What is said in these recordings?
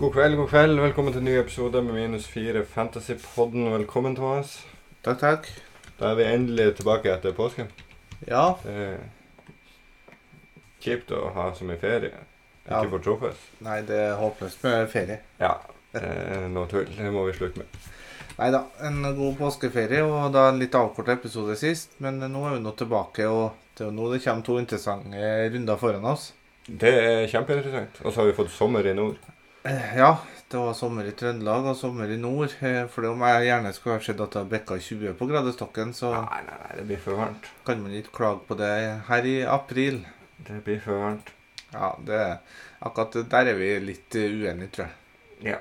God kveld, god kveld. Velkommen til en ny episode med Minus 4 Fantasypodden. Velkommen, Thomas. Takk, takk. Da er vi endelig tilbake etter påske. Ja, Det er kjipt å ha så mye ferie. Ikke Ja. få truffes. nei, det er håpløst med ferie. Ja, det er noe tull. Det må vi slutte med. Nei da, en god påskeferie, og da en litt avkortet episode sist. Men nå er vi nå tilbake, og det er jo nå det kommer to interessante runder foran oss. Det er kjempeinteressant. Og så har vi fått sommer i nord. Eh, Ja, det var sommer i Trøndelag og sommer i nord. eh, For om jeg gjerne skulle ha sett at det har bikka 20 på gradestokken, så Nei, nei, nei, det blir for varmt. kan man ikke klage på det her i april. Det blir for varmt. Ja, det Akkurat der er vi litt eh, uenige, tror jeg. Ja.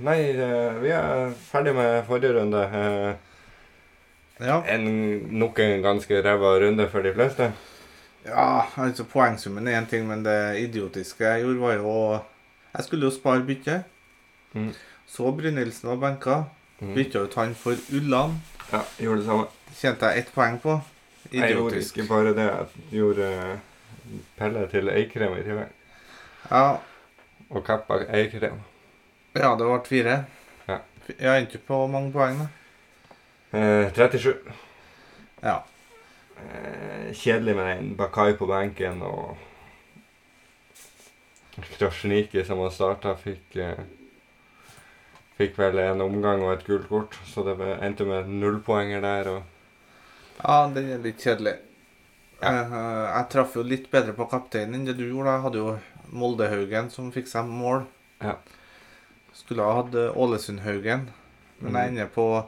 Nei, eh, vi er ferdig med forrige runde. Eh, Ja. En, nok en ganske ræva runde for de fleste. Ja, altså poengsummen er én ting, men det idiotiske jeg gjorde, var jo å Jeg skulle jo spare byttet. Mm. Så Brynildsen var benka. Mm. Bytta ut han for Ulland. Ja, gjorde det samme. Tjente jeg ett poeng på. Jeg gjorde ikke Idiotisk. bare det at jeg gjorde eh, Pelle til eikrem i tillegg. Ja, Og kappa eikrem. ja, det ble fire. Ja. Jeg endte jo på hvor mange poeng, da. Eh, 37. Ja. Eh, kjedelig med den Bakai på benken og Krasjniki som har starta, fikk eh, Fikk vel en omgang og et gult kort, så det ble- endte med et nullpoenger der. Og ja, den er litt kjedelig. Ja. Eh, Jeg traff jo litt bedre på kapteinen enn det du gjorde. da. Jeg hadde jo Moldehaugen som fikk seg mål. Ja. Skulle ha hatt eh, Ålesundhaugen. Men Mm. jeg ender på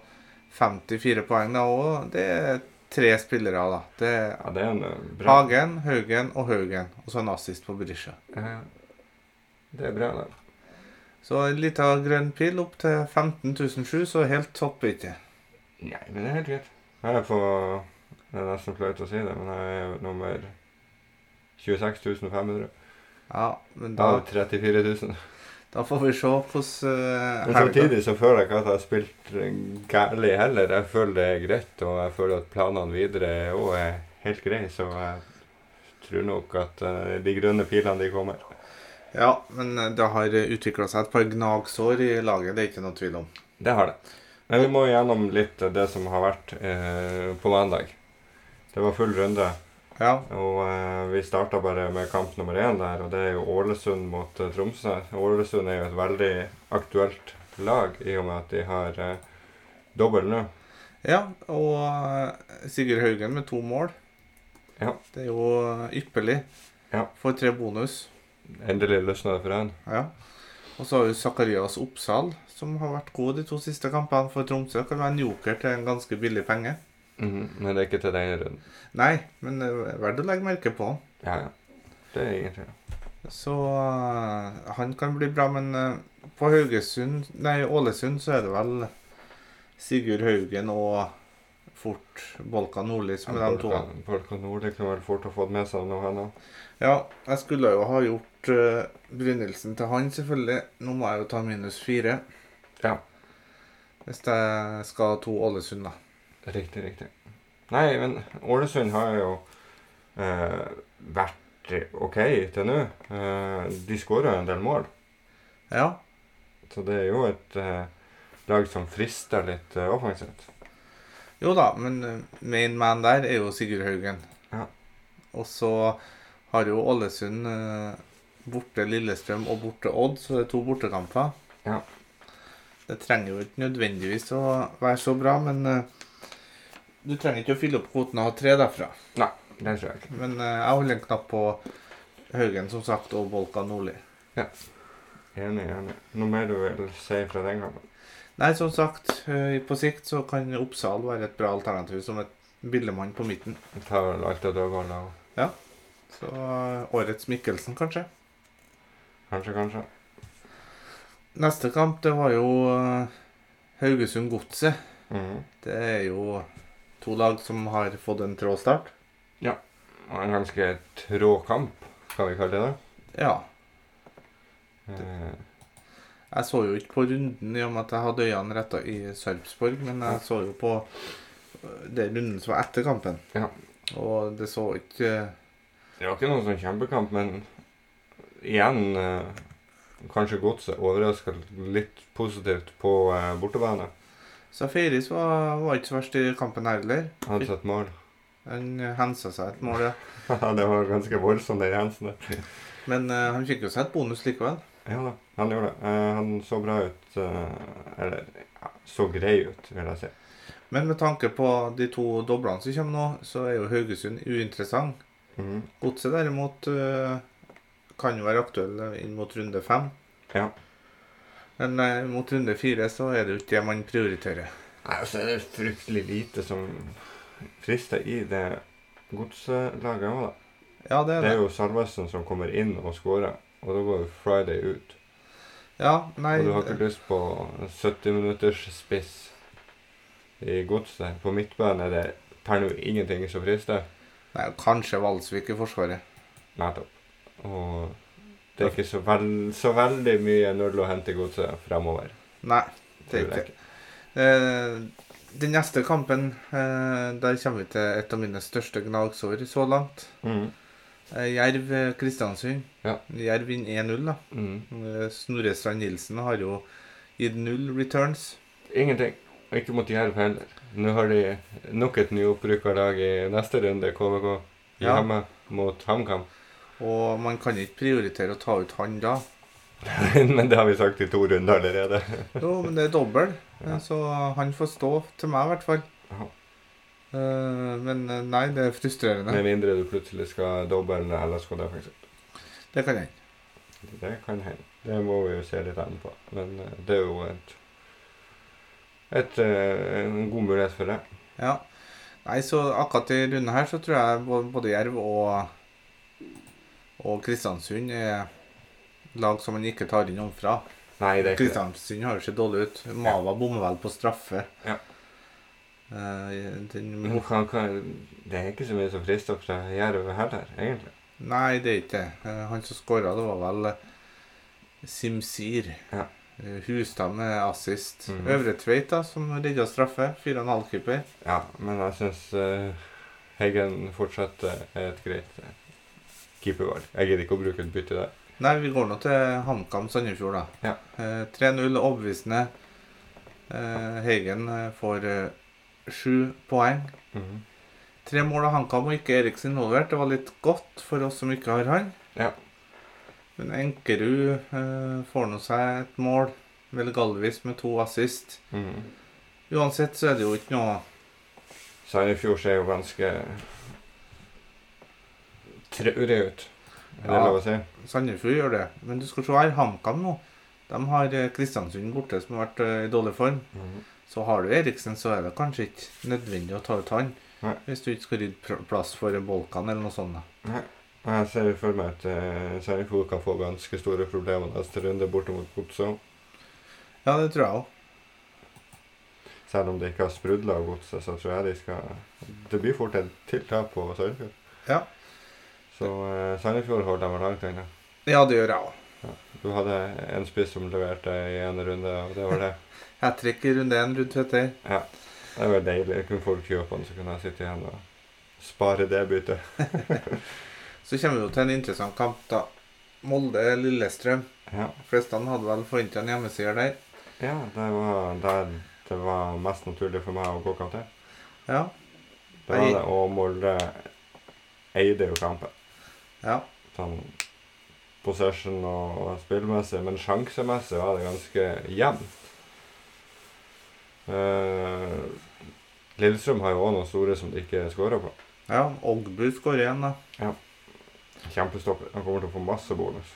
54 poeng, da, og det er tre spillere. da. Det er ja, det er en eh, bra Hagen, Haugen og Haugen. Og så en assist på Brisja. Eh, Det er bra, det. Så en liten grønn pil opp til 15.007, så helt topp ikke. Nei, men det er helt greit. Jeg er på Det er nesten flaut å si det, men jeg er jo nummer 26.500 Ja, men da, av 34.000. da får vi se hvordan Men uh, helga samtidig så føler jeg ikke at jeg har spilt gærlig heller. Jeg føler det er greit, og jeg føler at planene videre òg er helt greie, så jeg tror nok at eh, de grønne pilene, de kommer. Ja, men eh, det har utvikla seg et par gnagsår i laget, det er ikke noe tvil om. Det har det. Men vi må gjennom litt det som har vært eh, på mandag. Det var full runde. Ja, Og eh, vi starta bare med kamp nummer én der, og det er jo Ålesund mot eh, Tromsø. Ålesund er jo et veldig aktuelt lag i og med at de har eh, dobbel nå. ja og eh, Sigurd Haugen med to mål. Ja. Det er jo eh, ypperlig. Ja. Får tre bonus. Endelig løsna det for han. Ja. Og så har vi Zakarias Oppsal, som har vært god de to siste kampene for Tromsø. Kan være en joker til en ganske billig penge. Mhm. Men det er ikke til denne runden. Nei, men det er verdt å legge merke på. han. Ja, ja. Det er ingenting. Så eh, han kan bli bra, men eh, på Haugesund, nei, Ålesund så er det vel Sigurd Haugen og fort Bolka Nordli som er de to. Polka- Polka Nordli kunne vel fort ha fått med seg noe, han òg. Ja, jeg skulle jo ha gjort eh, Brynildsen til han, selvfølgelig. Nå må jeg jo ta minus fire. Ja. Hvis jeg skal ha to Ålesund, da. Riktig, riktig. Nei, men Ålesund har jo eh, vært OK til nå. Eh, de skåra en del mål. Ja. Så det er jo et eh, lag som frister litt eh, offensivt. Jo da, men eh, main man der er jo Sigurd Haugen. Ja. Og så har jo Ålesund eh, borte Lillestrøm og borte Odd, så det er to bortekamper. Ja. Det trenger jo ikke nødvendigvis å være så bra, men eh, du trenger ikke å fylle opp kvoten og ha tre derfra. Det tror jeg ikke. Men eh, jeg holder en knapp på Haugen, som sagt, og Bolka Nordli. Enig, enig. Noe mer du vil si fra den kampen? Nei, som sagt, eh, på sikt så kan Oppsal være et bra alternativ som et billemann på midten. Jeg tar vel alt av dødballer og Så eh, årets Mikkelsen, kanskje. kanskje, kanskje. Neste kamp, det var jo eh, Haugesund Godset. Mhm. Det er jo to lag som har fått en trå start. Og en ganske trå kamp, kan vi kalle det. Ja. da. Eh, Jeg så jo ikke på runden i og med at jeg hadde øynene retta i Sarpsborg, men jeg så jo på eh, det runden som var etter kampen. Ja. Og det så ikke eh, det var ikke noen sånn kjempekamp, men igjen eh, kanskje Godset overraska litt positivt på eh, bortebane. Safaris var, var ikke så verst i kampen her heller. Hadde satt mål. Han hensa seg et mål, ja. det var ganske voldsomt, den Jensen der. Men eh, han fikk jo seg et bonus likevel. Ja da, han gjorde det. Eh, han så bra ut. eh, eller ja, så grei ut, vil jeg si. Men med tanke på de to doblene som kommer nå, så er jo Haugesund uinteressant. Mhm. Godset derimot eh, kan jo være aktuell inn mot runde fem. Ja. Men eh, mot runde fire så er det jo ikke det man prioriterer. Nei, altså, det er fryktelig lite som frister i det godslaget òg, da. Ja, det Det er det. er jo Salvesen som kommer inn og scorer, og da går jo Friday ut. Ja, nei, Og du har ikke lyst på 70 minutters spiss i godset. På midtbanen er det per nå ingenting som frister. nei, kanskje Valsvik i forsvaret. Nettopp. Og det er ikke så, vel- så veldig mye null å hente i godset fremover. Nei, det er tror ikke jeg det. Eh, den neste kampen, eh, der kommer vi til et av mine største gnagsår så langt. Mhm. Eh, Jerv eh, Kristiansund. Ja. Jerv vinner 1-0, da. Mhm. Eh, Snorre Strand Nilsen har jo gitt null returns. Ingenting. Og ikke mot Jerv heller. Nå har de nok et nyopprykka lag i neste runde, KVK. Ja. Hjemme mot HamKam. Og man kan ikke prioritere å ta ut han da. Men det har vi sagt i to runder allerede. Jo, men det er dobbel, Ja. eh, så han får stå. Til meg, i hvert fall. Ja. Eh, Men eh, nei, det er frustrerende. Med mindre du plutselig skal doble LSK der, f.eks. Det kan jeg. Det kan hende. Det må vi jo se litt an på. Men eh, det er jo et, et eh, en god mulighet for det. Ja. Nei, så akkurat i runden her så tror jeg bå- både Jerv og, og Kristiansund er lag som man ikke tar inn omfra. Nei, det er ikke det. Kristiansund har jo sett dårlig ut. Mava bommer vel på straffe. Ja. Eh, den, Men hva- hva- det er ikke så mye som frister fra Jerv heller, egentlig. nei, det er ikke det. Eh, han som skåra, det var vel eh, Simsir. Ja. Eh, Hustad med assist. Mhm. Øvre Tveit, da, som redda straffe. 4,5-keeper. Ja, men jeg syns Heggen fortsatt eh, er et greit eh, keepervalg. Jeg gidder ikke å bruke et bytte der. Nei, vi går nå til HamKam Sandefjord, da. Ja. Eh, 3-0, overbevisende. Eh, Heigen eh, får eh, sju poeng. Mhm. Tre mål av HamKam og ikke Eriksen involvert. Det var litt godt for oss som ikke har han. Ja. Men Enkerud eh, får nå seg et mål. Vel Galvis med to assist. Mhm. Uansett så er det jo ikke noe Sandefjord ser jo ganske traurig ut. Er det Ja. lov å si? Sandefjord gjør det. Men du skal se her, HamKam nå. De har eh, Kristiansund borte, som har vært eh, i dårlig form. Mhm. Så har du Eriksen, så er det kanskje ikke nødvendig å ta ut han. Nei. Hvis du ikke skal rydde pr- plass for Bolkan eller noe sånt. da. Og Jeg ser for meg at eh, Sandefjord kan få ganske store problemer neste runde borte mot Godset. Ja, det tror jeg òg. Selv om de ikke har sprudla av Godset, så tror jeg de skal Det blir fort et til tap på Sandefjord. Ja. Så eh, Sandefjord holder dem langt inne. ja, det gjør jeg òg. Du hadde en spiss som leverte i en runde, og det var det. Jeg trekker runde én, runde 30. Ja. Det var deilig. Jeg kunne folk kjøpe den, så kunne jeg sitte igjen og spare det byttet. Så kommer vi jo til en interessant kamp, da. Molde-Lillestrøm. Ja. De fleste hadde vel forventa en hjemmesider der. ja, det var der det var mest naturlig for meg å gå kamp til. Ja. Det var Nei. det, og Molde eide jo kampen. ja. sånn possession og spillmessig, men sjansemessig var det ganske jevnt. Eh, Lillestrøm har jo òg noen store som de ikke skårer på. ja. Ogbu skårer igjen, da. Kjempestopper. Han kommer til å få masse bonus.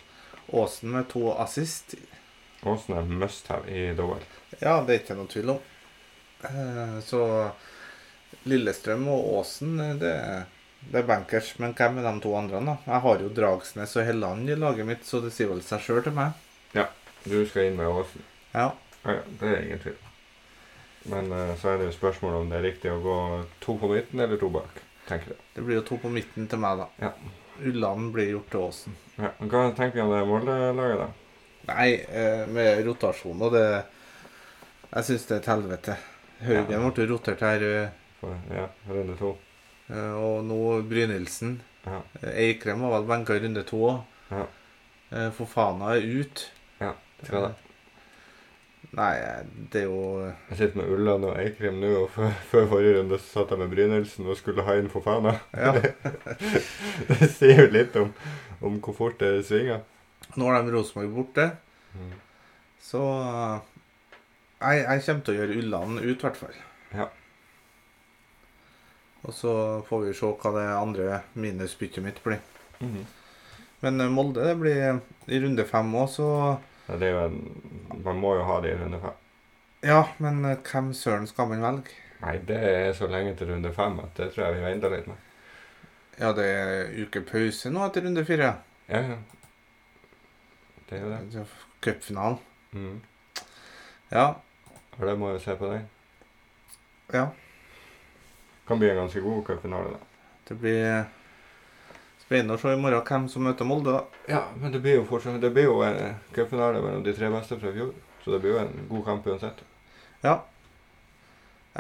Aasen med to assist. Aasen er must have i dobbel. Ja, det er ikke noe tvil om. Eh, Så Lillestrøm og Åsen, eh, det er, det er bankers. Men hvem er de to andre, da? Jeg har jo Dragsnes og Helland i laget mitt, så det sier vel seg sjøl til meg. Du skal inn med Aasen. Ja. Ja, ja, det er ingen tvil. Men eh, så er det jo spørsmål om det er riktig å gå to på midten eller to bak, tenker jeg. Det blir jo to på midten til meg, da. Ja. Ulland blir gjort til Åsen. Ja. Hva tenker vi om det Molde-laget, da? Nei, eh, med rotasjon og det Jeg syns det er et helvete. Haugen Ja. ble jo rotert her, eh, For, ja, runde to. og nå Brynildsen. Ja. Eh, Eikrem var vel benka i runde to òg. Ja. Fofana er ut. Eh, Ja. Skal da. Nei, det er jo eh, Jeg sitter med Ulland og Eikrem nå, og før, før forrige runde så satt jeg med Brynildsen og skulle ha inn Fofana. Ja, Det sier jo litt om, om hvor fort det svinger. nå har de Rosenborg borte, Mm. så eh, jeg, jeg kommer til å gjøre Ulland ut, i hvert fall. Ja. Og så får vi se hva det andre minusbyttet mitt blir. Mm. Men eh, Molde det blir i runde fem òg, så Ja, det er jo en, man må jo ha det i runde fem. Ja, men eh, hvem søren skal man velge? Nei, det er så lenge til runde fem at det tror jeg vi venter litt med. Ja, det er uke pause nå etter runde fire. Ja, ja. Det er jo det. Cupfinalen. Mm. Ja. Og det må jo se på den. Ja. Kan bli en ganske god cupfinale, da. Det blir spennende å se i morgen hvem som møter Molde, da. Ja, men det blir jo fortsatt Det blir jo en cupfinale mellom de tre beste fra i fjor. Så det blir jo en god kamp uansett. Jeg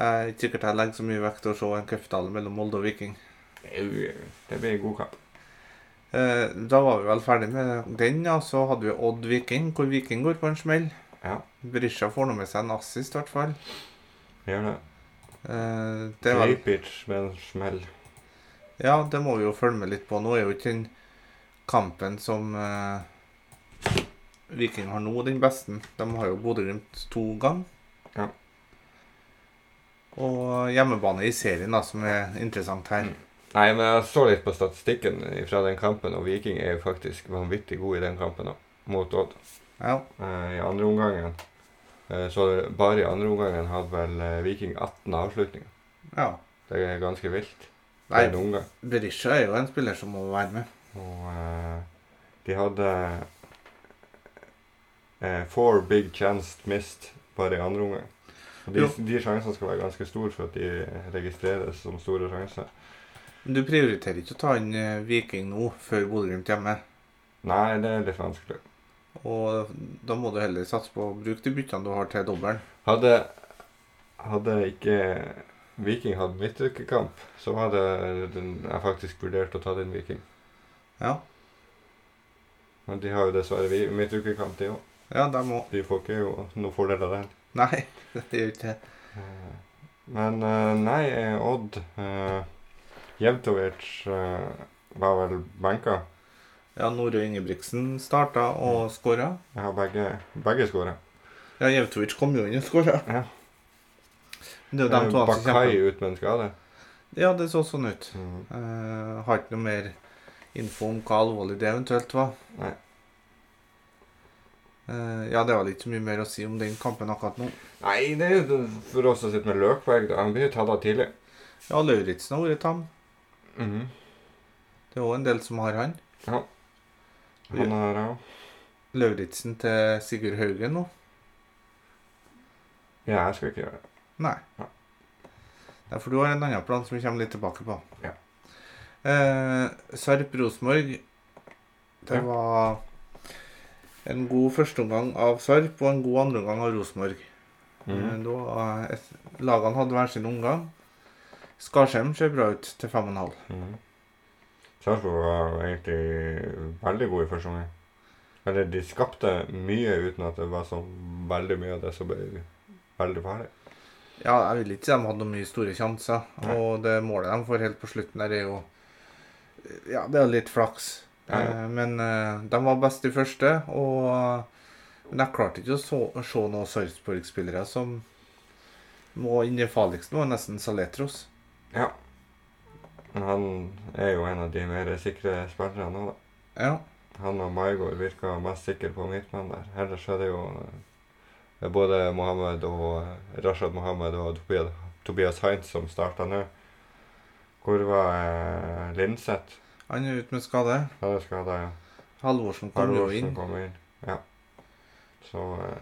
er ikke sikkert jeg legger så mye vekt til å se en cupfinale mellom Molde og Viking. Det blir en god kamp. Eh, da var vi vel ferdig med den, ja. Så hadde vi Odd Viking, hvor Viking går på en smell. Ja. Berisha får nå med seg en assist, i hvert fall. Vi gjør det. Eh, det er vel Tripic med en smell. Ja, det må vi jo følge med litt på. Nå er jo ikke den kampen som eh, Viking har nå, den beste. De har jo Bodø-Glimt to ganger. Ja. Og hjemmebane i serien, da, som er interessant her. Mm. Nei, men jeg så litt på statistikken fra den kampen, og Viking er jo faktisk vanvittig god i den kampen òg, mot Odd. Ja. Eh, I andre omgangen eh, Så bare i andre omgangen hadde vel eh, Viking 18 avslutninger. ja. Det er ganske vilt. Det Nei, er en omgang. Berisha er jo en spiller som må være med. Og eh, de hadde eh, four big chance missed bare i andre omgang. Og de, Jo. de sjansene skal være ganske store for at de registreres som store sjanser. Men du prioriterer ikke å ta inn eh, Viking nå, før Bodø-Glimt hjemme. Nei, det er litt vanskelig. Og da må du heller satse på å bruke de byttene du har til dobbelen. Hadde, hadde ikke Viking hatt midtukekamp, så hadde den, jeg faktisk vurdert å ta den Viking. Ja. Men de har jo dessverre vi- midtukekamp, de òg. ja, de må De får ikke jo noe fordel av den. Nei, det gjør ikke det. Eh, Men eh, nei, eh, Odd eh, Jevtovic eh, var vel benka. Ja, Norøy Ingebrigtsen starta og skåra. Jeg har begge, begge skåra. Ja, Jevtovic kom jo inn og skåra. Ja. Det er jo de to altså, han som Bakai kjemper. ut med en skade. Ja, det så sånn ut. Mm. Eh, har ikke noe mer info om hva alvorlig det eventuelt var. Nei. Eh, ja, det var ikke så mye mer å si om den kampen akkurat nå. Nei, det er jo for oss som sitter med Løkberg. da. Han blir jo tatt av tidlig. Ja, Lauritzen har vært tam. Mhm. Det er òg en del som har han. Han har òg Lauritzen til Sigurd Haugen nå. Ja, jeg skal ikke gjøre det. Nei. Ja. Nei, for du har en annen plan som vi kommer litt tilbake på. Ja. Eh, Sarp Rosenborg. Det Ja. var en god førsteomgang av Sarp og en god andreomgang av Rosenborg. Eh, Mhm. da, eh, et- Lagene hadde hver sin omgang. Skarsheim ser bra ut til 5,5. Mhm. Sarpsborg var egentlig veldig god i første omgang. Eller de skapte mye uten at det var så veldig mye av det som ble veldig farlig. Ja, jeg vil ikke si de hadde noen mye store sjanser. Nei. Og det målet de får helt på slutten der, er jo Ja, det er jo litt flaks. Ja, ja. Eh, Men eh, de var best i første, og eh, Men jeg klarte ikke å så, se noen Sarpsborg-spillere som må inn i farligsten, var nesten Saletros. Ja. Men han er jo en av de mer sikre spillerne nå, da. Ja. Han og Maigård virka mest sikre på midtbanen der. Ellers er det jo eh, både Mohammed og eh, Rashad Mohammed og Tobias, Tobias Heinz som starta nå. Hvor var eh, Lindseth? Han er ute med skade. Han er skada, ja. Halvorsen kom jo Halvorsen inn. kom inn. Ja. Så eh,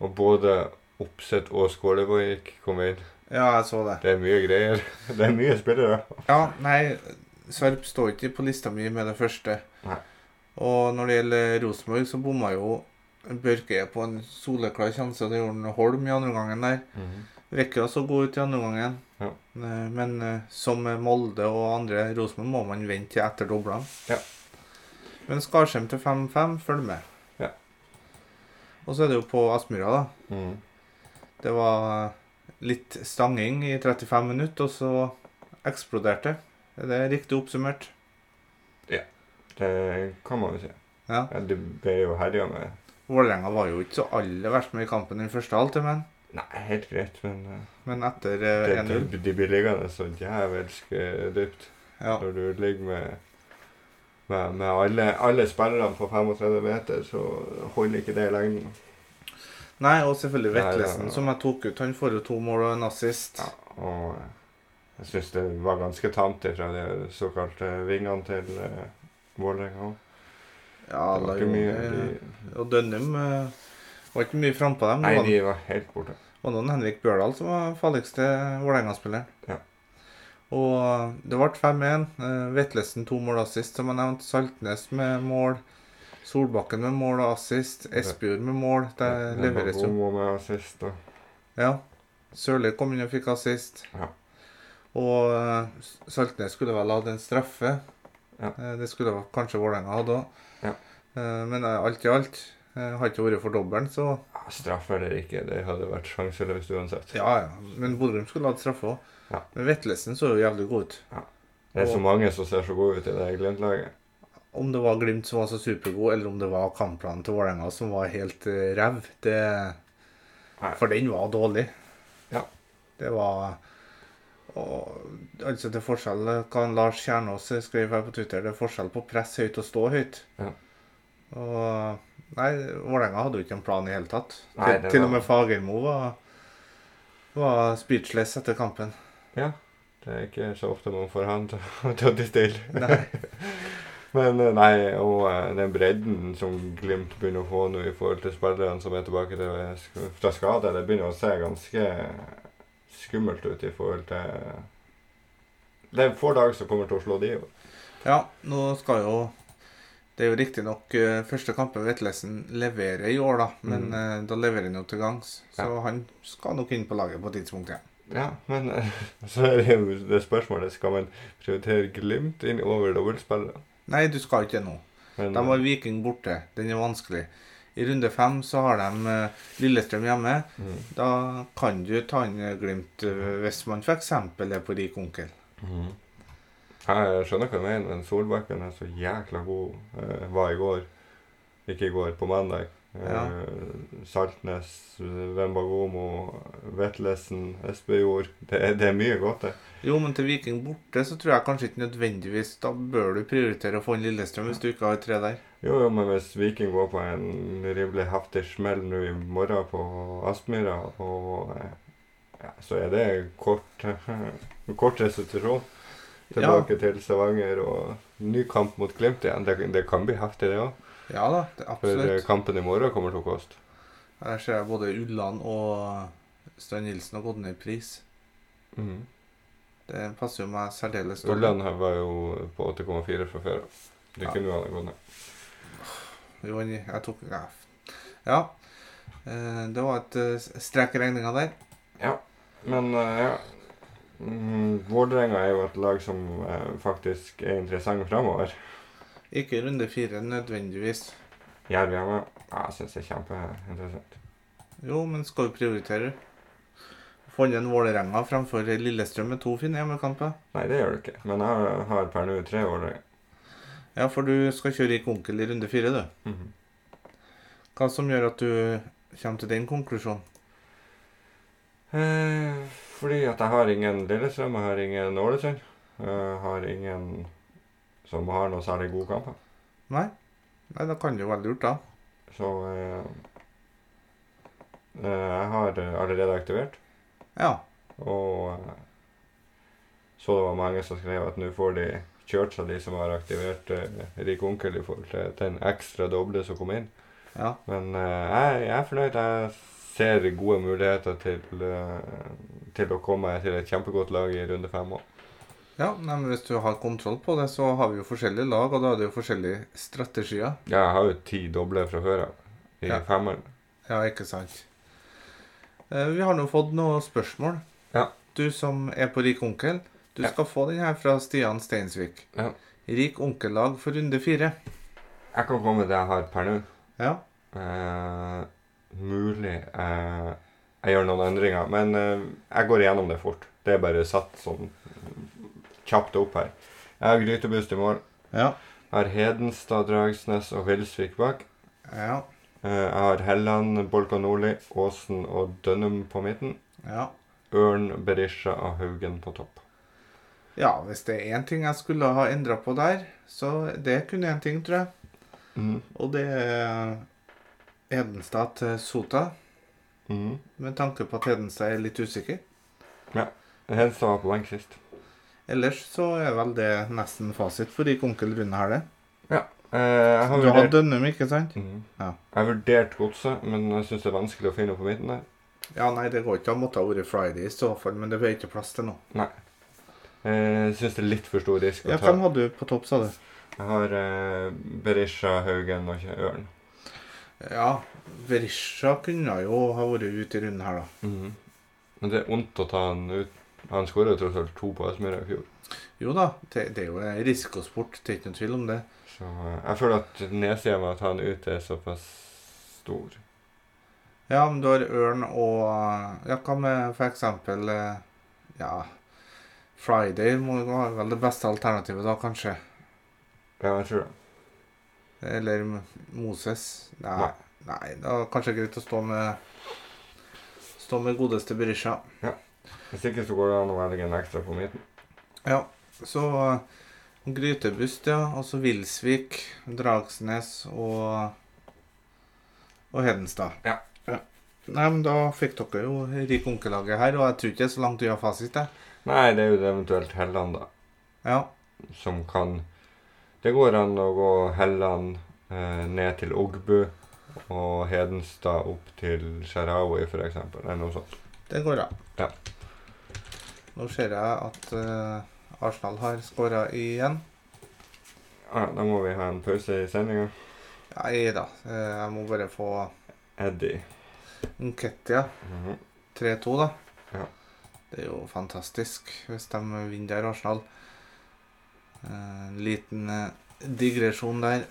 Og både Opseth og Skålevik kom inn. Ja, jeg så det. Det er mye greier. Det er mye spillere. Ja, nei, Sarp står ikke på lista mi med det første. Nei. Og når det gjelder Rosenborg, så bomma jo Børke på en soleklar sjanse. og Det gjorde han Holm i andre gangen der. Rekker også å gå ut i andre gangen. Ja. Eh, Men eh, som med Molde og andre Rosenborg må man vente til etter doblene. Ja. Men Skarsheim til 5-5, følg med. Ja. Og så er det jo på Aspmyra, da. Mm. Det var litt stanging i 35 minutter, og så eksploderte det. Er det riktig oppsummert? Det kan man jo si. Ja. Ja, du ble jo herja med Vålerenga var jo ikke så aller verst med i kampen den første halvtime, men, Nei, helt greit, men eh, men etter det, eh, 1-0 det, de blir liggende så jævelsk eh, dypt ja. når du ligger med med, med alle, alle spillerne på 35 meter, så holder ikke det i lengden. Nei, og selvfølgelig Nei, det- Vetlesen, som jeg tok ut. Han får jo to mål og en assist. Ja, og eh, jeg syns det var ganske tamt fra de såkalte vingene til eh, Vålerenga. Ja, eh, Det var ikke mye de, Og Dønnum eh, var ikke mye frampå dem. Nei, Det var- de var helt borte. Og noen Henrik Bjørdal som var farligste Vålerenga-spilleren. Ja. Og det ble 5-1. Eh, Vetlesen to mål og assist, som jeg nevnte. Saltnes med mål. Solbakken med mål og assist. Espejord med mål. Det Eh, leveres jo. Bomo med assist og Ja. Sørli kom inn og fikk assist. Ja. Og eh, S- Saltnes skulle vel hatt en straffe. Ja. Eh, Det skulle vel kanskje Vålerenga hatt òg. Ja. Men eh, alt i alt eh, har ikke vært for dobbelen, så ja, Straff eller ikke, det hadde vært sjanseløst uansett. Ja, ja. Men Bodø Glimt skulle hatt straffe òg. Ja. Men Vetlesen så jo jævlig god ut. Det er så mange som ser så gode ut i det Glimt-laget. Om det var Glimt som var så supergod, eller om det var kampplanen til Vålerenga som var helt uh, ræv det... Nei. For den var dårlig. Ja. Det var og, Altså, til forskjell hva han Lars Kjernås eh, skrev her på Twitter, det er forskjell på press høyt og stå høyt. Ja. Og Nei, Vålerenga hadde jo ikke en plan i hele tatt. Nei, til, det til var- og med Fagermo var, var speechless etter kampen. Ja. Det er ikke så ofte man får han til til å tie stille. Nei. Men eh, nei, og eh, den bredden som Glimt begynner å få nå i forhold til spillerne som er tilbake til, sk- fra skade, det begynner å se ganske skummelt ut i forhold til eh, Det er få lag som kommer til å slå de. Ja, nå skal jo Det er jo riktignok uh, første kampen Vetlesen leverer i år, da. Men Mm. eh, da leverer han jo til gangs. Så han skal nok inn på laget på et tidspunkt igjen. Ja, men eh, så er det jo det spørsmålet skal man prioritere Glimt inn over dobbeltspillere. Nei, du skal ikke nå. Men De har Viking borte. Den er vanskelig. I runde fem så har de eh, Lillestrøm hjemme. mm, Da kan du ta inn eh, Glimt eh, hvis man f.eks. er på rik onkel. mm. Jeg skjønner hva du mener, men Solbakken er så jækla god. eh, var i går. Ikke i går, på mandag. Eh, Ja. Saltnes, Vembagomo, Vetlesen, Espejord. Det, er- det er mye godt, det. Jo, men til Viking borte så tror jeg kanskje ikke nødvendigvis Da bør du prioritere å få inn Lillestrøm hvis du ikke har tre der. Jo, jo, men hvis Viking går på en rimelig heftig smell nå i morgen på Aspmyra, og eh, ja, så er det kort, kort restitusjon tilbake til Stavanger og ny kamp mot Glimt igjen. Det, det kan bli heftig, det òg. Ja da, det, For absolutt. eh, kampen i morgen kommer til å koste. Her ser jeg både Ulland og Stein Nilsen har gått ned i pris. Mm. Det passer jo meg særdeles dårlig. Ulland her var jo på 8,4 fra før av. Det Ja. kunne jo han ha gått ned. Jo, han- jeg tok Ja. ja. Eh, Det var et eh, strek i regninga der. Men eh, ja. Mm, Vålerenga er jo et lag som eh, faktisk er interessant framover. Ikke i runde fire nødvendigvis. Jerv hjemme. Ja, jeg syns det er kjempeinteressant. Jo, men skal vi prioritere? Få inn en Vålerenga framfor Lillestrøm med to fine hjemmekamper. Nei, det gjør du ikke. Men jeg har per nå tre Vålerenga. Ja, for du skal kjøre Rik onkel i runde fire, du. Mhm. Hva som gjør at du kommer til den konklusjonen? Eh, fordi at jeg har ingen Lillestrøm, jeg har ingen Ålesund. Jeg har ingen som har noe særlig gode kamper. Nei? Nei, da kan du jo være lurt, da. Så eh, eh, jeg har eh, allerede aktivert. Ja. Og eh, så det var mange som skrev at nå får de kjørt seg, de som har aktivert eh, Rik onkel i forhold til den ekstra doble som kom inn. Ja. Men eh, jeg, jeg er fornøyd. Jeg ser gode muligheter til, eh, til å komme til et kjempegodt lag i runde fem òg. Ja, nei, men hvis du har kontroll på det, så har vi jo forskjellige lag, og da er det jo forskjellige strategier. Ja, jeg har jo ti doble fra før av i Ja. femmeren. Ja, ikke sant. Eh, Vi har nå fått noen spørsmål. Ja. Du som er på Rik onkel, du Ja. skal få den her fra Stian Steinsvik. Ja. Rik onkellag for runde fire. Jeg kan komme med det jeg har per nå. Ja. Eh, mulig eh, jeg gjør noen endringer. Men eh, jeg går igjennom det fort. Det er bare satt sånn kjapt opp her. Jeg har Grytebust i mål. Ja. Jeg har Hedenstad, Dragsnes og Vilsvik bak. Ja. Eh, jeg har Helland, Bolka Nordli, Åsen og Dønnum på midten. Ja. Ørn, Berisha og Haugen på topp. ja, hvis det er én ting jeg skulle ha endra på der, så det kunne én ting, tror jeg. Mhm. Og det er Hedenstad til Sota, Mhm. med tanke på at Hedenstad er litt usikker. Hedenstad var på benk sist. Ellers så er vel det nesten fasit for rik onkel Rune her, det. Eh, jeg har Du har vurdert, Dønnum, ikke sant? Mhm. Ja. Jeg har vurdert godset, men jeg syns det er vanskelig å finne noe på midten der. Ja, nei, det går ikke. Det måtte ha vært Friday i så fall, men det ble ikke plass til nå. Eh, Jeg syns det er litt for stor risk å Ja, ta. hvem hadde du på topp, sa du? Jeg har eh, Berisha, Haugen og Ørn. Ja, Berisha kunne jo ha vært ute i runden her, da. Men det er vondt å ta han ut. Han skåra tross alt to på Aspmyra i fjor. Jo da, det, det er jo en risikosport, det er ikke noen tvil om det. Så eh, jeg føler at nedsida med å ta han ut er såpass stor. Ja, men du har ørn og Ja, hva med for eksempel eh, Ja, Friday må jo være vel det beste alternativet, da, kanskje. Ja, jeg tror det. Eller M- Moses. Nei, Nei. nei da er det kanskje greit å stå med Stå med godeste Berisha. Hvis ikke så går det an å velge en ekstra på midten. Ja, så eh, Grytebust, ja. Og så Vilsvik, Dragsnes og og Hedenstad. Ja. Nei, men da fikk dere jo rik onkelaget her, og jeg tror ikke det er så langt unna fasit, jeg. Nei, det er jo det eventuelt Helland, da, Ja. som kan Det går an å gå Helland eh, ned til Ogbu og Hedenstad opp til Sharawi, for eksempel, eller noe sånt. Det går bra. Ja. Nå ser jeg at eh, Arsenal har skåra igjen. Ja, da må vi ha en pause i sendinga. Nei da, eh, jeg må bare få Eddie. Nketia Mhm. 3-2, da. Ja. Det er jo fantastisk hvis de vinner der, Arsenal. Eh, En liten eh, digresjon der.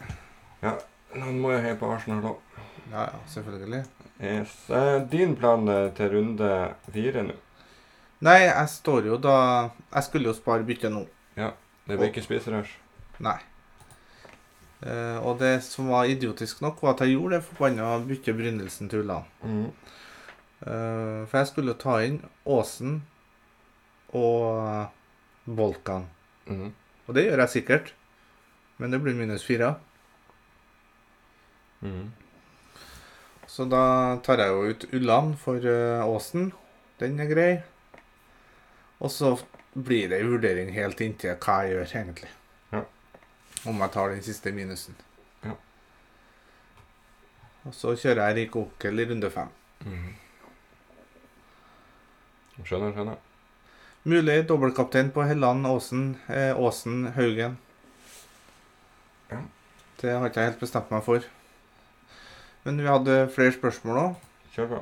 Han må jo heie på Arsenal òg. Ja ja, selvfølgelig. Yes. Eh, Din plan eh, til runde fire nå Nei, jeg står jo da Jeg skulle jo spare byttet nå. Det blir ikke spiserush. Nei. Eh, og det som var idiotisk nok, var at jeg gjorde det forbanna byttet Brynildsen til Ulland. Mhm. Eh, for jeg skulle jo ta inn Åsen og Bolkan. Mhm. Og det gjør jeg sikkert. Men det blir minus fire. Mhm. Så da tar jeg jo ut Ulland for eh, Åsen. Den er grei. Og så blir det en vurdering helt inntil hva jeg gjør, egentlig. Ja. Om jeg tar den siste minusen. Ja. Og så kjører jeg Rik Okkel i runde fem. Mhm. Skjønner, skjønner. Mulig dobbeltkaptein på Helland Åsen. Eh, Åsen Haugen. Ja. Det har ikke jeg helt bestemt meg for. Men vi hadde flere spørsmål òg. Kjør på.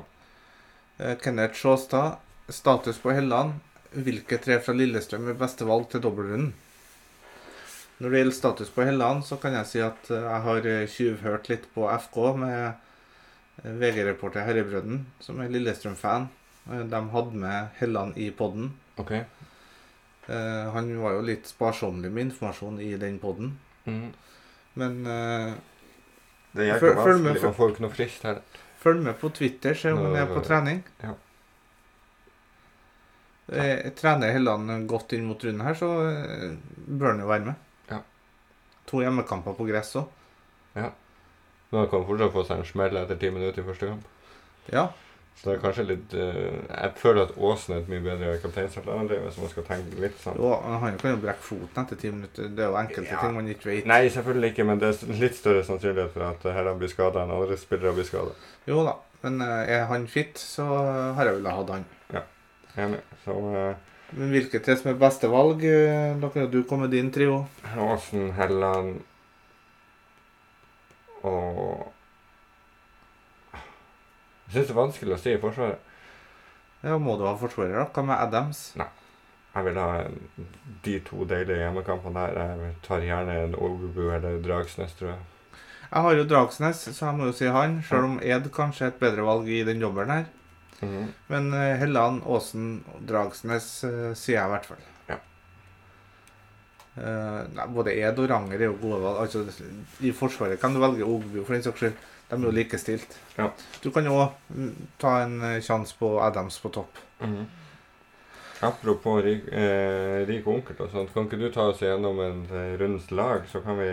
Eh, Kenneth Sjåstad. Status på Helland. Hvilke tre fra Lillestrøm er beste valg til dobbeltrunden? Når det gjelder status på Helland, så kan jeg si at eh, jeg har eh, tjuvhørt litt på FK med eh, VG-reporter Herrebrøden, som er Lillestrøm-fan. Eh, De hadde med Helland i podden. OK. Eh, han var jo litt sparsommelig med informasjon i den poden, Mhm. men eh, Det er Føl- jævlig følg med, vanskelig følg- å få noe frist her. følg med på Twitter, se om Nå- han er på trening. ja. Eh, trener Helland godt inn mot runden her, så eh, bør han jo være med. Ja. To hjemmekamper på gress òg. Men han kan fortsatt få seg en smell etter ti minutter i første kamp. Ja. Så det er kanskje litt eh, Jeg føler at Aasen er et mye bedre kapteinsalternativ, hvis man skal tenke litt sånn. Jo, han kan jo brekke foten etter ti minutter. Det er jo enkelte Ja. ting man ikke vet. Nei, selvfølgelig ikke, men det er s- litt større sannsynlighet for at Helland blir skada enn andre spillere blir skada. Jo da, men eh, er han fit, så har jeg villet hatt han. Enig. Så eh, Men hvilke tre som er beste valg? eh, Da kan jo du komme med din trio. Åsen, Helland og Jeg syns det er vanskelig å si i Forsvaret. Ja, må du ha forsvarer, da? Hva med Adams? Jeg vil ha en- de to deilige hjemmekampene der. Jeg tar gjerne en Ogubu eller Dragsnes, tror jeg. Jeg har jo Dragsnes, så jeg må jo si han. Selv om Ed kanskje er et bedre valg i den dobbelen her. Mhm. Men eh, Helland, Åsen, Dragsnes eh, sier jeg i hvert fall. Ja. Eh, nei, både Ed og Ranger er jo gode valg. Altså, I Forsvaret kan du velge Ogbu, for den saks skyld. De er jo likestilt. Ja. Du kan jo også, mm, ta en eh, sjanse på Adams på topp. Mhm. Apropos rik, eh, rik onkel og sånt, kan ikke du ta oss gjennom en eh, rundens lag, så kan vi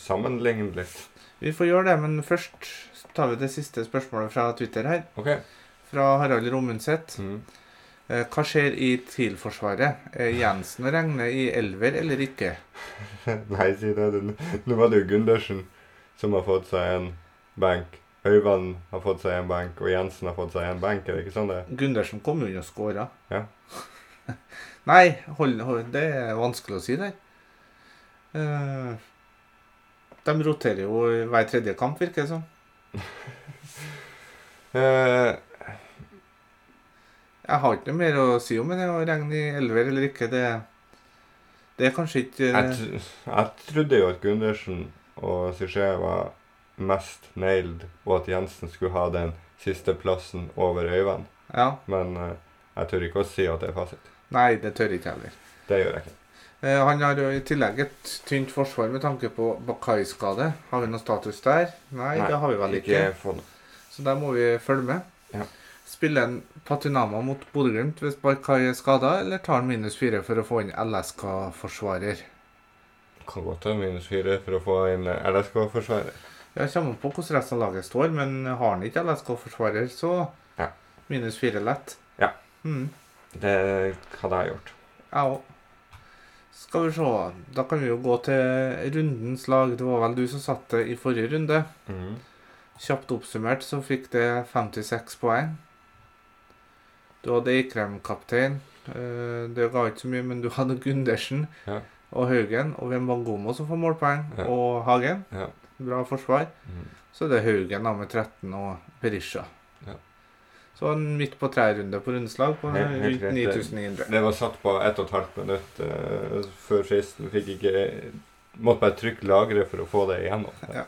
sammenligne litt? Vi får gjøre det, men først tar vi det siste spørsmålet fra Twitter her. OK. Fra Harald Romundset. Mhm. Eh, Hva skjer i TIL-forsvaret? Er Jensen å regne i elver eller ikke? Nei, si det. du. Nå var det jo Gundersen som har fått seg en benk. Høyvann har fått seg en benk, og Jensen har fått seg en benk. Er det ikke sånn det er? Gundersen kom jo inn og skåra. Ja. Nei, hold, hold, det er vanskelig å si der. Eh, de roterer jo hver tredje kamp, virker det som. Eh, Jeg har ikke noe mer å si om det, å regne i elver eller ikke. Det, det er kanskje ikke jeg, tr jeg trodde jo at Gundersen og Suché var mest nailed, og at Jensen skulle ha den siste plassen over Øyvann. Ja, Men eh, jeg tør ikke å si at det er fasit. Nei, det tør jeg ikke heller. Det gjør jeg ikke. Eh, han har jo i tillegg et tynt forsvar med tanke på Bakai-skade. Har vi noe status der? Nei, det har vi vel ikke. fått Så der må vi følge med. Ja. Spiller en Patinama mot Bodø-Glimt hvis Barkai er skada, eller tar han minus fire for å få inn LSK-forsvarer? Kan godt ta minus fire for å få inn eh, LSK-forsvarer. Jeg kommer an på hvordan resten av laget står, men har han ikke LSK-forsvarer, så Ja. minus fire lett. Ja. Mm, Det hadde jeg gjort. jeg òg. Skal vi se, da kan vi jo gå til rundens lag. Det var vel du som satt det i forrige runde. Mhm. Kjapt oppsummert så fikk det 56 poeng. Du hadde Eikrem kaptein. Eh, Det ga ikke så mye, men du hadde Gundersen Ja. og Haugen og Wembangomo som får målpoeng, Ja. og Hagen. Ja. Bra forsvar. Mhm. Så det er Haugen da med 13 og Berisha. Ja. Så en midt på tre-runde på rundeslag på Helt- helt rundt rett. 9900. Det var satt på ett og et halvt minutt eh, før fristen. Fikk ikke Måtte bare trykke 'lagre' for å få det igjennom. Ja.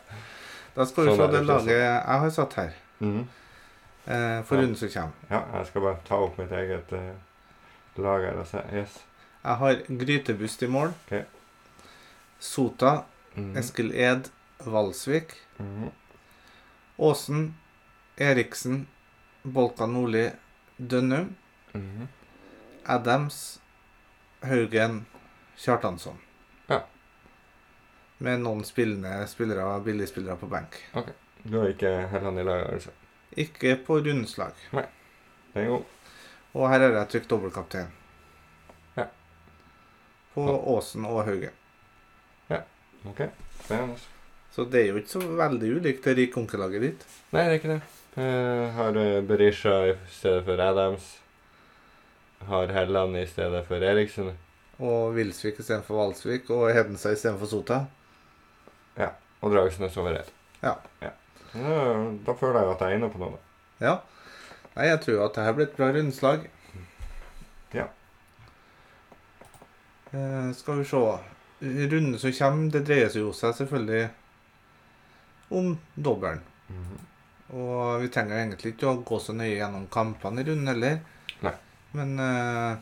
Da skal vi Sånn se er det det, laget jeg har satt her, Mhm. eh, for Ja. runden som kommer. Ja, jeg skal bare ta opp mitt eget eh, lag her og se. Yes. Jeg har Grytebust i mål. Ok. Sota Mhm. Eskil Ed Valsvik, Mhm. Åsen, Eriksen, Bolka Nordli, Dønnum, Mhm. Adams, Haugen, Kjartansson. Ja. Med noen spillende spillere, billigspillere på benk. Du har ikke Helland i laget, altså. Ikke på rundslag. Den er god. Og her har jeg trykt dobbeltkaptein. Ja. På Ja. Åsen og Haugen. OK. Spennende. Så det er jo ikke så veldig ulikt det rike onkelaget ditt. Nei, det er ikke det. Jeg har eh, Berisha i stedet for Adams. Har Helland i stedet for Eriksen. Og Wilsvik istedenfor Valsvik, og Hedenstad istedenfor Sota. Og Dragsnes over Ed. Ja. ja. Ja, Da føler jeg at jeg er inne på noe. da. Ja. Nei, jeg tror at det her blir et bra rundslag. Ja. Eh, skal vi se. Runden som kommer, det dreier seg jo seg selvfølgelig om dobbelen. Mhm. Og vi trenger egentlig ikke å gå så nøye gjennom kampene i runden heller. Nei. Men eh,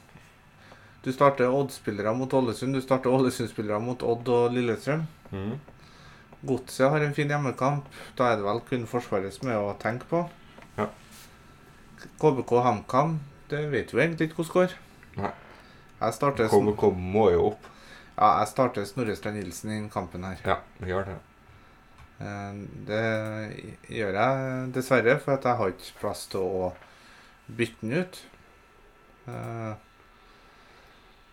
du starter Odd-spillere mot Ålesund. Du starter Ålesund-spillere mot Odd og Lillestrøm. Mhm. Godset har en fin hjemmekamp. Da er det vel kun Forsvaret som er å tenke på. Ja. KBK HamKam, det vet jo egentlig ikke hvordan går. Nei. Jeg starter, sn KBK må jo opp. ja, jeg starter Snorre Strand Nilsen i den kampen her. Ja, vi gjør det. Eh, Det gjør jeg dessverre, for at jeg har ikke plass til å bytte den ut. Eh,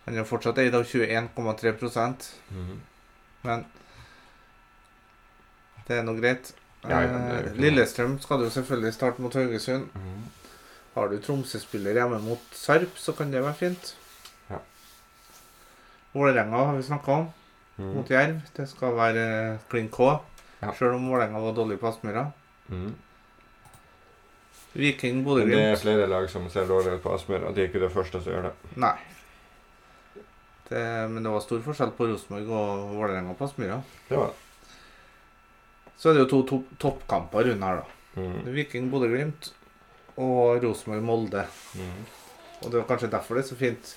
Han er fortsatt eid av 21,3 Mhm. Men det er nå greit. Ja, ja, det er jo Eh, ikke noe. Lillestrøm skal du selvfølgelig starte mot Haugesund. Mhm. Har du Tromsø-spiller hjemme mot Sarp, så kan det være fint. Ja. Vålerenga har vi snakka om, Mhm. mot Jerv. Det skal være eh, klin K, Ja. sjøl om Vålerenga var dårlig på Aspmyra. Mhm. Men Viking, det er Bodø-Glimt. flere lag som ser dårligere ut på Aspmyr, og de er ikke det første som gjør det. Nei. Det, men det var stor forskjell på Rosenborg og Vålerenga på Aspmyra. Det var det. Så er det jo to topp- toppkamper rundt her, da. Mm. Viking Bodø-Glimt og Rosenborg Molde. Mm. Og det er kanskje derfor det er så fint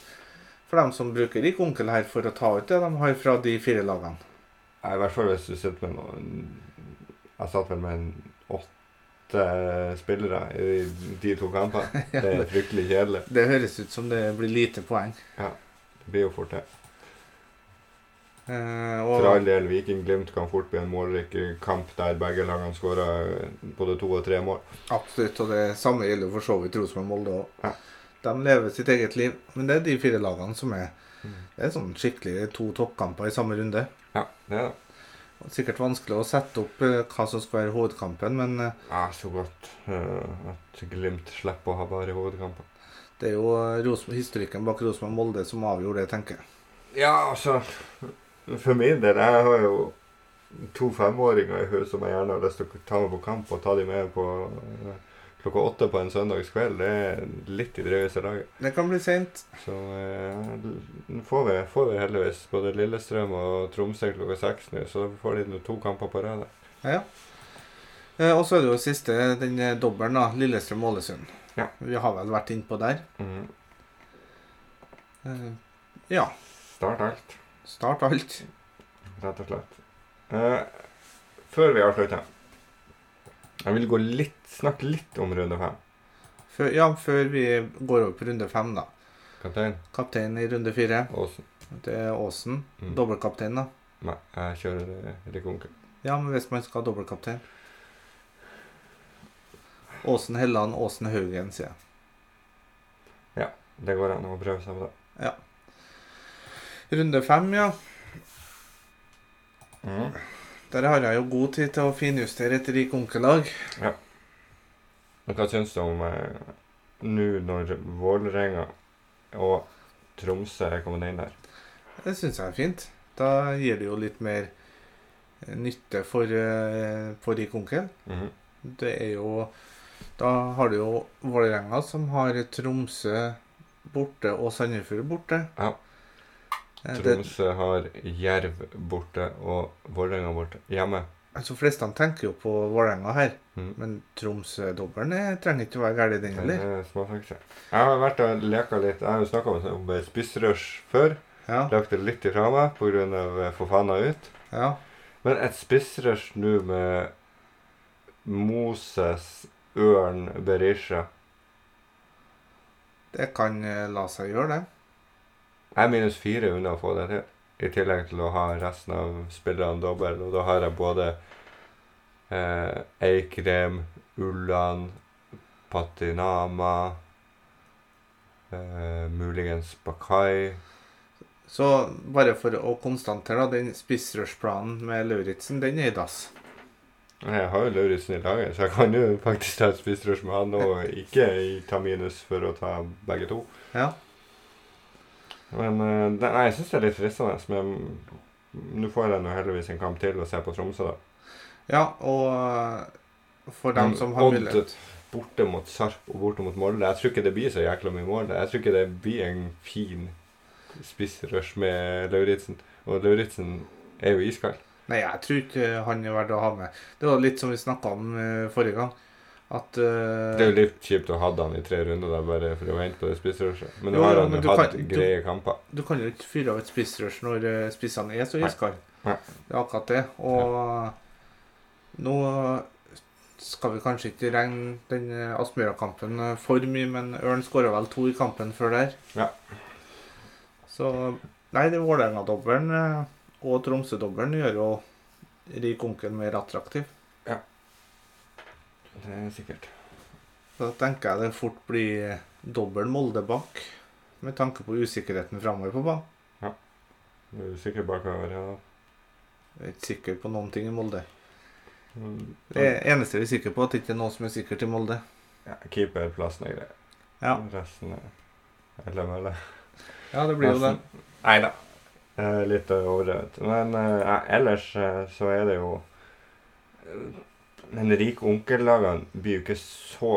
for dem som bruker rik onkel her, for å ta ut det de har fra de fire lagene. Nei, I hvert fall hvis du sitter med noen Jeg satt vel med en åtte spillere i de to kampene. Det er fryktelig kjedelig. Det høres ut som det blir lite poeng. Det blir jo fort det. Eh, For all og, del, Viking-Glimt kan fort bli en målrik kamp der begge lagene skårer eh, både to og tre mål. absolutt, og det samme gjelder for så vidt Rosenborg Molde òg. Ja. De lever sitt eget liv, men det er de fire lagene som er Det er sånn skikkelig to toppkamper i samme runde. Ja, det er det. Sikkert vanskelig å sette opp eh, hva som skal være hovedkampen, men eh, Ja, så godt eh, at Glimt slipper å ha bare hovedkamper. det er jo eh, Rosen- historikken bak Rosenborg-Molde som avgjorde det, tenker jeg. Ja, altså For min del, jeg har jo to femåringer i huet som jeg gjerne har lyst til å ta med på kamp og ta de med på eh, klokka åtte på en søndagskveld. Det er litt i drøyeste laget. Det kan bli seint. Så eh, nå får vi, får vi heldigvis både Lillestrøm og Tromsø klokka seks nå, så da får de nå to kamper på rad. da. Ja, ja. Eh, Og så er det jo siste, den eh, dobbelen, da. Lillestrøm-Ålesund. Ja. Vi har vel vært innpå der. Mm. Eh, Ja. Start alt, Start alt. rett og slett. Eh, før vi avslutter Jeg vil gå litt, snakke litt om runde fem. Før, ja, før vi går over på runde fem, da. Kaptein Kaptein i runde fire, Aasen. det er Aasen. Mm. Dobbeltkaptein, da. Nei, jeg kjører eh, Rikke Onkel. Ja, men hvis man skal ha dobbeltkaptein Åsen Helland, Åsen Haugen, sier jeg. Det går an å prøve seg på det. Runde fem, ja. Der har jeg jo god tid til å finjustere et rik onkelag. Men hva syns du om eh, nå når Vålerenga og Tromsø er kommet inn der? Det syns jeg er fint. Da gir det jo litt mer eh, nytte for, eh, for rik onkel. Mhm. Det er jo Da har du jo Vålerenga, som har Tromsø borte og Sandefjord borte. Ja. Eh, Det, Tromsø har Jerv borte og Vålerenga borte. Hjemme. altså Flestene tenker jo på Vålerenga her. Mhm. Men Tromsø-dobbelen eh, trenger ikke å være gæren, den Det heller. er småsaker. Jeg har vært og leka litt. Jeg har jo snakka om eh, spissrush før. Ja, Lagt det litt ifra meg pga. forfanna eh, ut. ja. Men et spissrush nå med Moses, Ørn, Berisha Det kan eh, la seg gjøre, det. Jeg er minus fire unna å få det til. I tillegg til å ha resten av spillerne dobbel. Og da har jeg både eh, Eikrem, Ulland, Patinama eh, Muligens Bakai. Så bare for å konstatere, da, den spissrush-planen med Lauritzen, den er i dass. Jeg har jo Lauritzen i laget, så jeg kan jo faktisk ta et spissrush med han og ikke ta minus for å ta begge to. Ja. Men eh, det, nei, jeg syns det er litt fristende. Men nå får jeg nå heldigvis en kamp til å se på Tromsø, da. ja, og eh, for dem Men som har Odd- mulighet borte mot Sarp og borte mot Molde. Jeg tror ikke det blir så jækla mye mål. Jeg tror ikke det blir en fin spissrush med Lauritzen. Og Lauritzen er jo iskald. Nei, jeg tror ikke han er verdt å ha med. Det var litt som vi snakka om eh, forrige gang. At eh, Det er jo litt kjipt å ha han i tre runder der bare for å vente på det spissrushet. Men nå Jo, har jo, han jo men du hatt kan- du- greie kamper. Du kan jo ikke fyre av et spissrush når eh, spissene er så Nei. iskalde. Det Nei. er akkurat det. Og nå skal vi kanskje ikke regne den eh, Aspmyra-kampen eh, for mye, men Ørn skåra vel to i kampen før der. Ja. Så Nei, det Vålerenga-dobbelen eh, og Tromsø-dobbelen gjør jo Rik onkel mer attraktiv. Det er sikkert. Da tenker jeg det fort blir eh, dobbel Molde bak, med tanke på usikkerheten framover på banen. Du er sikkert bakover her, da. Jeg er ikke sikker på noen ting i Molde. Mm. Det eneste vi er sikre på, at det ikke er noe som er sikkert i Molde. Ja, Keeperplassen er grei. Ja, Resten er Eller mølle. ja det blir jo det. Nei da. Eh, Litt overdrevet. Men eh, ja, ellers eh, så er det jo eh, Den rike onkellagene blir jo ikke så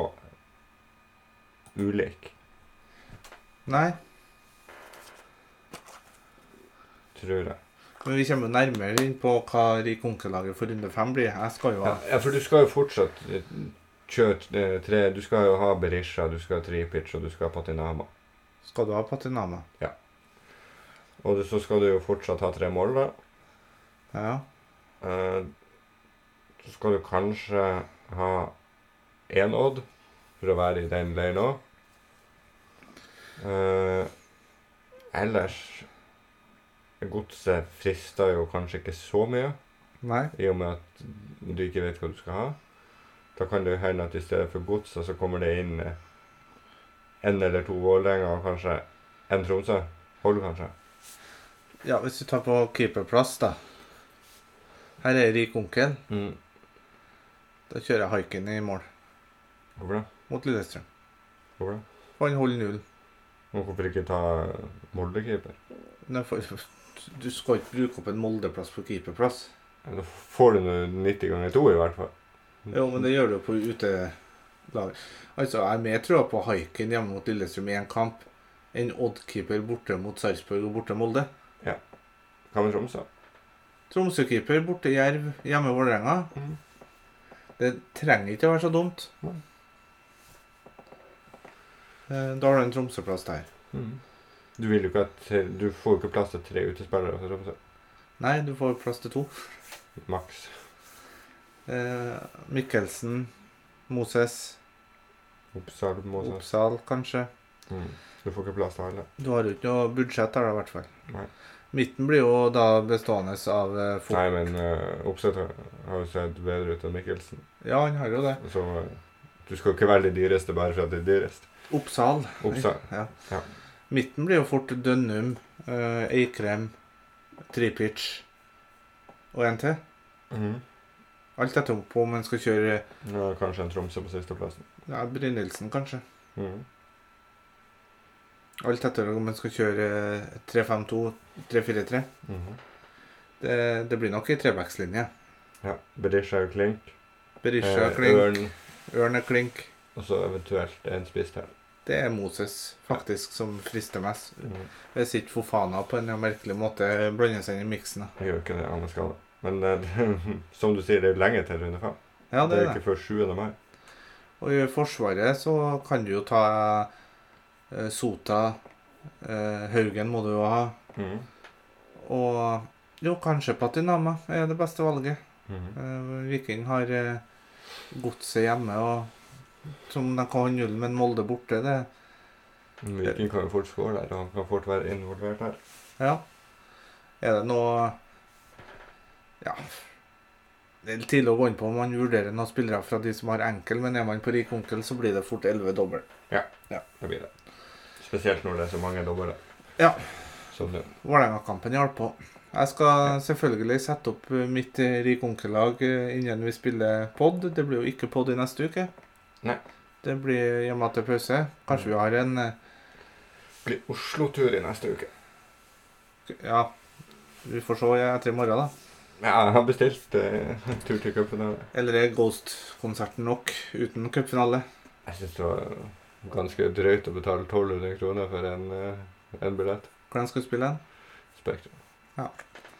ulike, Nei, tror jeg. Men vi kommer jo nærmere inn på hva Rikonke-laget for runde fem blir. Jeg skal jo ha Ja, ja, for du skal jo fortsatt eh, kjøre eh, tre Du skal jo ha Berisha, du skal ha Tripic og du skal ha Patinama. Skal du ha Patinama? Og du, så skal du jo fortsatt ha tre mål, da. Ja. Eh, så skal du kanskje ha én odd for å være i den leiren òg. ellers Godset frister jo kanskje ikke så mye, Nei. i og med at du ikke vet hva du skal ha. Da kan det jo hende at i stedet for Godset, så kommer det inn eh, en eller to Vålerenga og kanskje en Tromsø. Hold, kanskje. Ja, hvis du tar på keeperplass, da. Her er Rik onkel. Mm. Da kjører jeg Haiken i mål Hvorfor det? mot Lillestrøm. Hvorfor det? Og han holder null. Og hvorfor ikke ta Molde-keeper? Nei, for- Du skal ikke bruke opp en Molde-plass på keeperplass. Ja, Da får du noe 90 ganger 2 i hvert fall. Mm. Jo, men det gjør du jo på utelaget. Altså, jeg er mer trua på Haiken hjemme mot Lillestrøm i én kamp enn Odd-keeper borte mot Sarpsborg og borte Molde. Hva med Tromsø? Tromsø-keeper borte Jerv, hjemme Vålerenga. Mhm. Det trenger ikke å være så dumt. Nei. Eh, Da har du en Tromsø-plass der. Du vil jo ikke at Du får jo ikke plass til tre utespillere fra Tromsø. Nei, du får plass til to. Maks. Eh, Mikkelsen, Moses, Oppsal må også. Oppsal kanskje. Mm. Du får ikke plass til alle. Du har jo ikke noe budsjett her, da, i hvert fall. Nei. Midten blir jo da bestående av eh, folk. Nei, men uh, Oppsett har har jo sett bedre ut enn Mikkelsen. Ja, han har jo det. Så eh, du skal jo ikke velge de dyreste bare for at det er dyrest. Oppsal. Oppsal. Ja. Ja. Midten blir jo fort Dønnum, eh, Eikrem, Tripic og en til. Mm. Mhm. Alt dette opp om en skal kjøre Nå er kanskje en Tromsø på sisteplassen. ja, Brynildsen, kanskje. Mm. Alt etter om en skal kjøre eh, 3-5-2, 3-4-3. Mhm. Det, det blir nok ei trebackslinje. Ja. Berisha er jo klink. Berisha Eh, klink, Ørn, Ørn er klink. og så eventuelt en spiss til. Det er Moses faktisk som frister mest. Mhm. Hvis ikke Fofana på en eller annen merkelig måte blander seg inn i miksen. da. Jeg gjør ikke det, han er skadet. Men eh, som du sier, det er lenge til runde fem. Ja, det det er er det. ikke før 7. mai. Og i Forsvaret så kan du jo ta eh, Sota, eh, Haugen må du jo ha. Mhm. Og jo, kanskje Patinama er det beste valget. Mhm. Eh, Viking har eh, godset hjemme, og som de kan ha null, men Molde borte, det Viking kan jo fort skåre der, og han kan fort være involvert her. Ja. Er det noe Ja. Det er tidlig å gå inn på om man vurderer noen spillere fra de som har enkel, men er man på rik onkel, så blir det fort 11 dobbel. Det blir det. Spesielt når det er så mange dobbere. Ja. Som det. Vålerenga-kampen hjalp på. Jeg skal selvfølgelig sette opp eh, mitt eh, rik onkel-lag eh, innen vi spiller pod. Det blir jo ikke pod i neste uke. Nei. Mm. Det blir hjemme til pause. Kanskje vi har en eh, Blir Oslo-tur i neste uke. Ja, vi får se etter i morgen, da. Ja, jeg har bestilt eh, tur til cupfinale. Eller er Ghost-konserten nok uten cupfinale? Jeg syns det var ganske drøyt å betale 1200 kroner for en, eh, en billett. Hvordan skal vi spille den? Spektrum. Ja.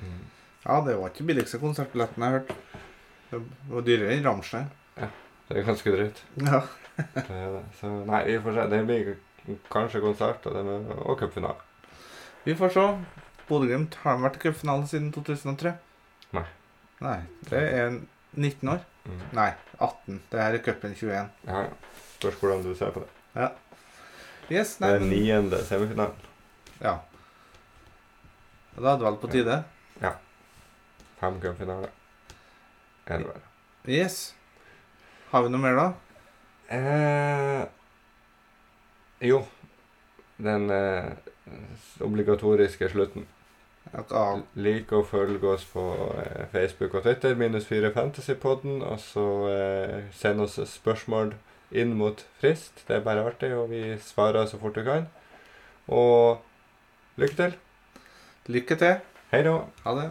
Mm. Ja, det var ikke billigste konsertbilletten jeg har hørt. Det var dyrere enn Ramstein. Det er ganske drøyt. Ja. Det er det. Så nei, vi får se. Det blir kanskje konsert og, det med- og cupfinale. Vi får se. Bodø-Glimt har de vært i cupfinalen siden 2003? Nei. Nei, Det er 19 år? Mm. Nei, 18. Det her er cupen 21. Ja, ja. Spørs hvordan du ser på det. Yes, Det nei, er men niende semifinalen. Ja. Og Da er det vel på tide? Fem cupfinaler. En hver. Yes. Har vi noe mer, da? Eh, jo. Den eh, s- obligatoriske slutten. Ja, hva- Lik og følg oss på eh, Facebook og Twitter, minus 4 Fantasypodden. Og så eh, send oss spørsmål inn mot frist. Det er bare artig, og vi svarer så fort vi kan. Og lykke til. Lykke til. Hei da. Ha det.